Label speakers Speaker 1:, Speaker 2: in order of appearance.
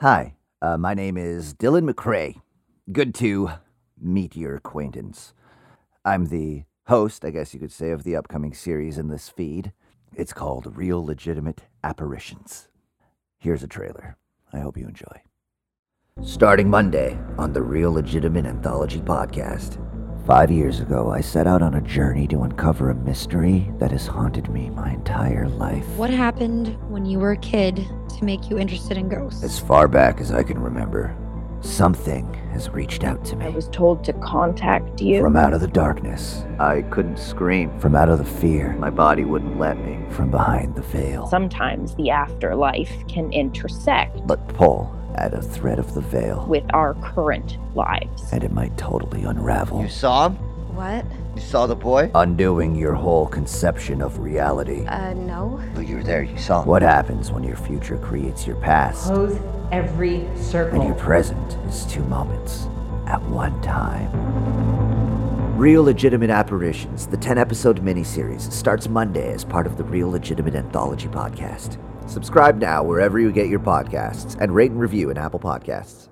Speaker 1: Hi, uh, my name is Dylan McCrae. Good to meet your acquaintance. I'm the host, I guess you could say, of the upcoming series in this feed. It's called Real Legitimate Apparitions. Here's a trailer. I hope you enjoy. Starting Monday on the Real Legitimate Anthology podcast. Five years ago, I set out on a journey to uncover a mystery that has haunted me my entire life.
Speaker 2: What happened when you were a kid to make you interested in ghosts?
Speaker 1: As far back as I can remember, something has reached out to me.
Speaker 3: I was told to contact you.
Speaker 1: From out of the darkness. I couldn't scream. From out of the fear. My body wouldn't let me. From behind the veil.
Speaker 3: Sometimes the afterlife can intersect
Speaker 1: but pull at a thread of the veil.
Speaker 3: with our current lives.
Speaker 1: and it might totally unravel.
Speaker 4: You saw him?
Speaker 2: What?
Speaker 4: You saw the boy?
Speaker 1: Undoing your whole conception of reality.
Speaker 2: Uh, no.
Speaker 4: But you were there, you saw him.
Speaker 1: What happens when your future creates your past
Speaker 5: Close every
Speaker 1: and your
Speaker 5: circle.
Speaker 1: present is two moments at one time? Real Legitimate Apparitions, the 10 episode miniseries, starts Monday as part of the Real Legitimate Anthology podcast. Subscribe now wherever you get your podcasts and rate and review in Apple Podcasts.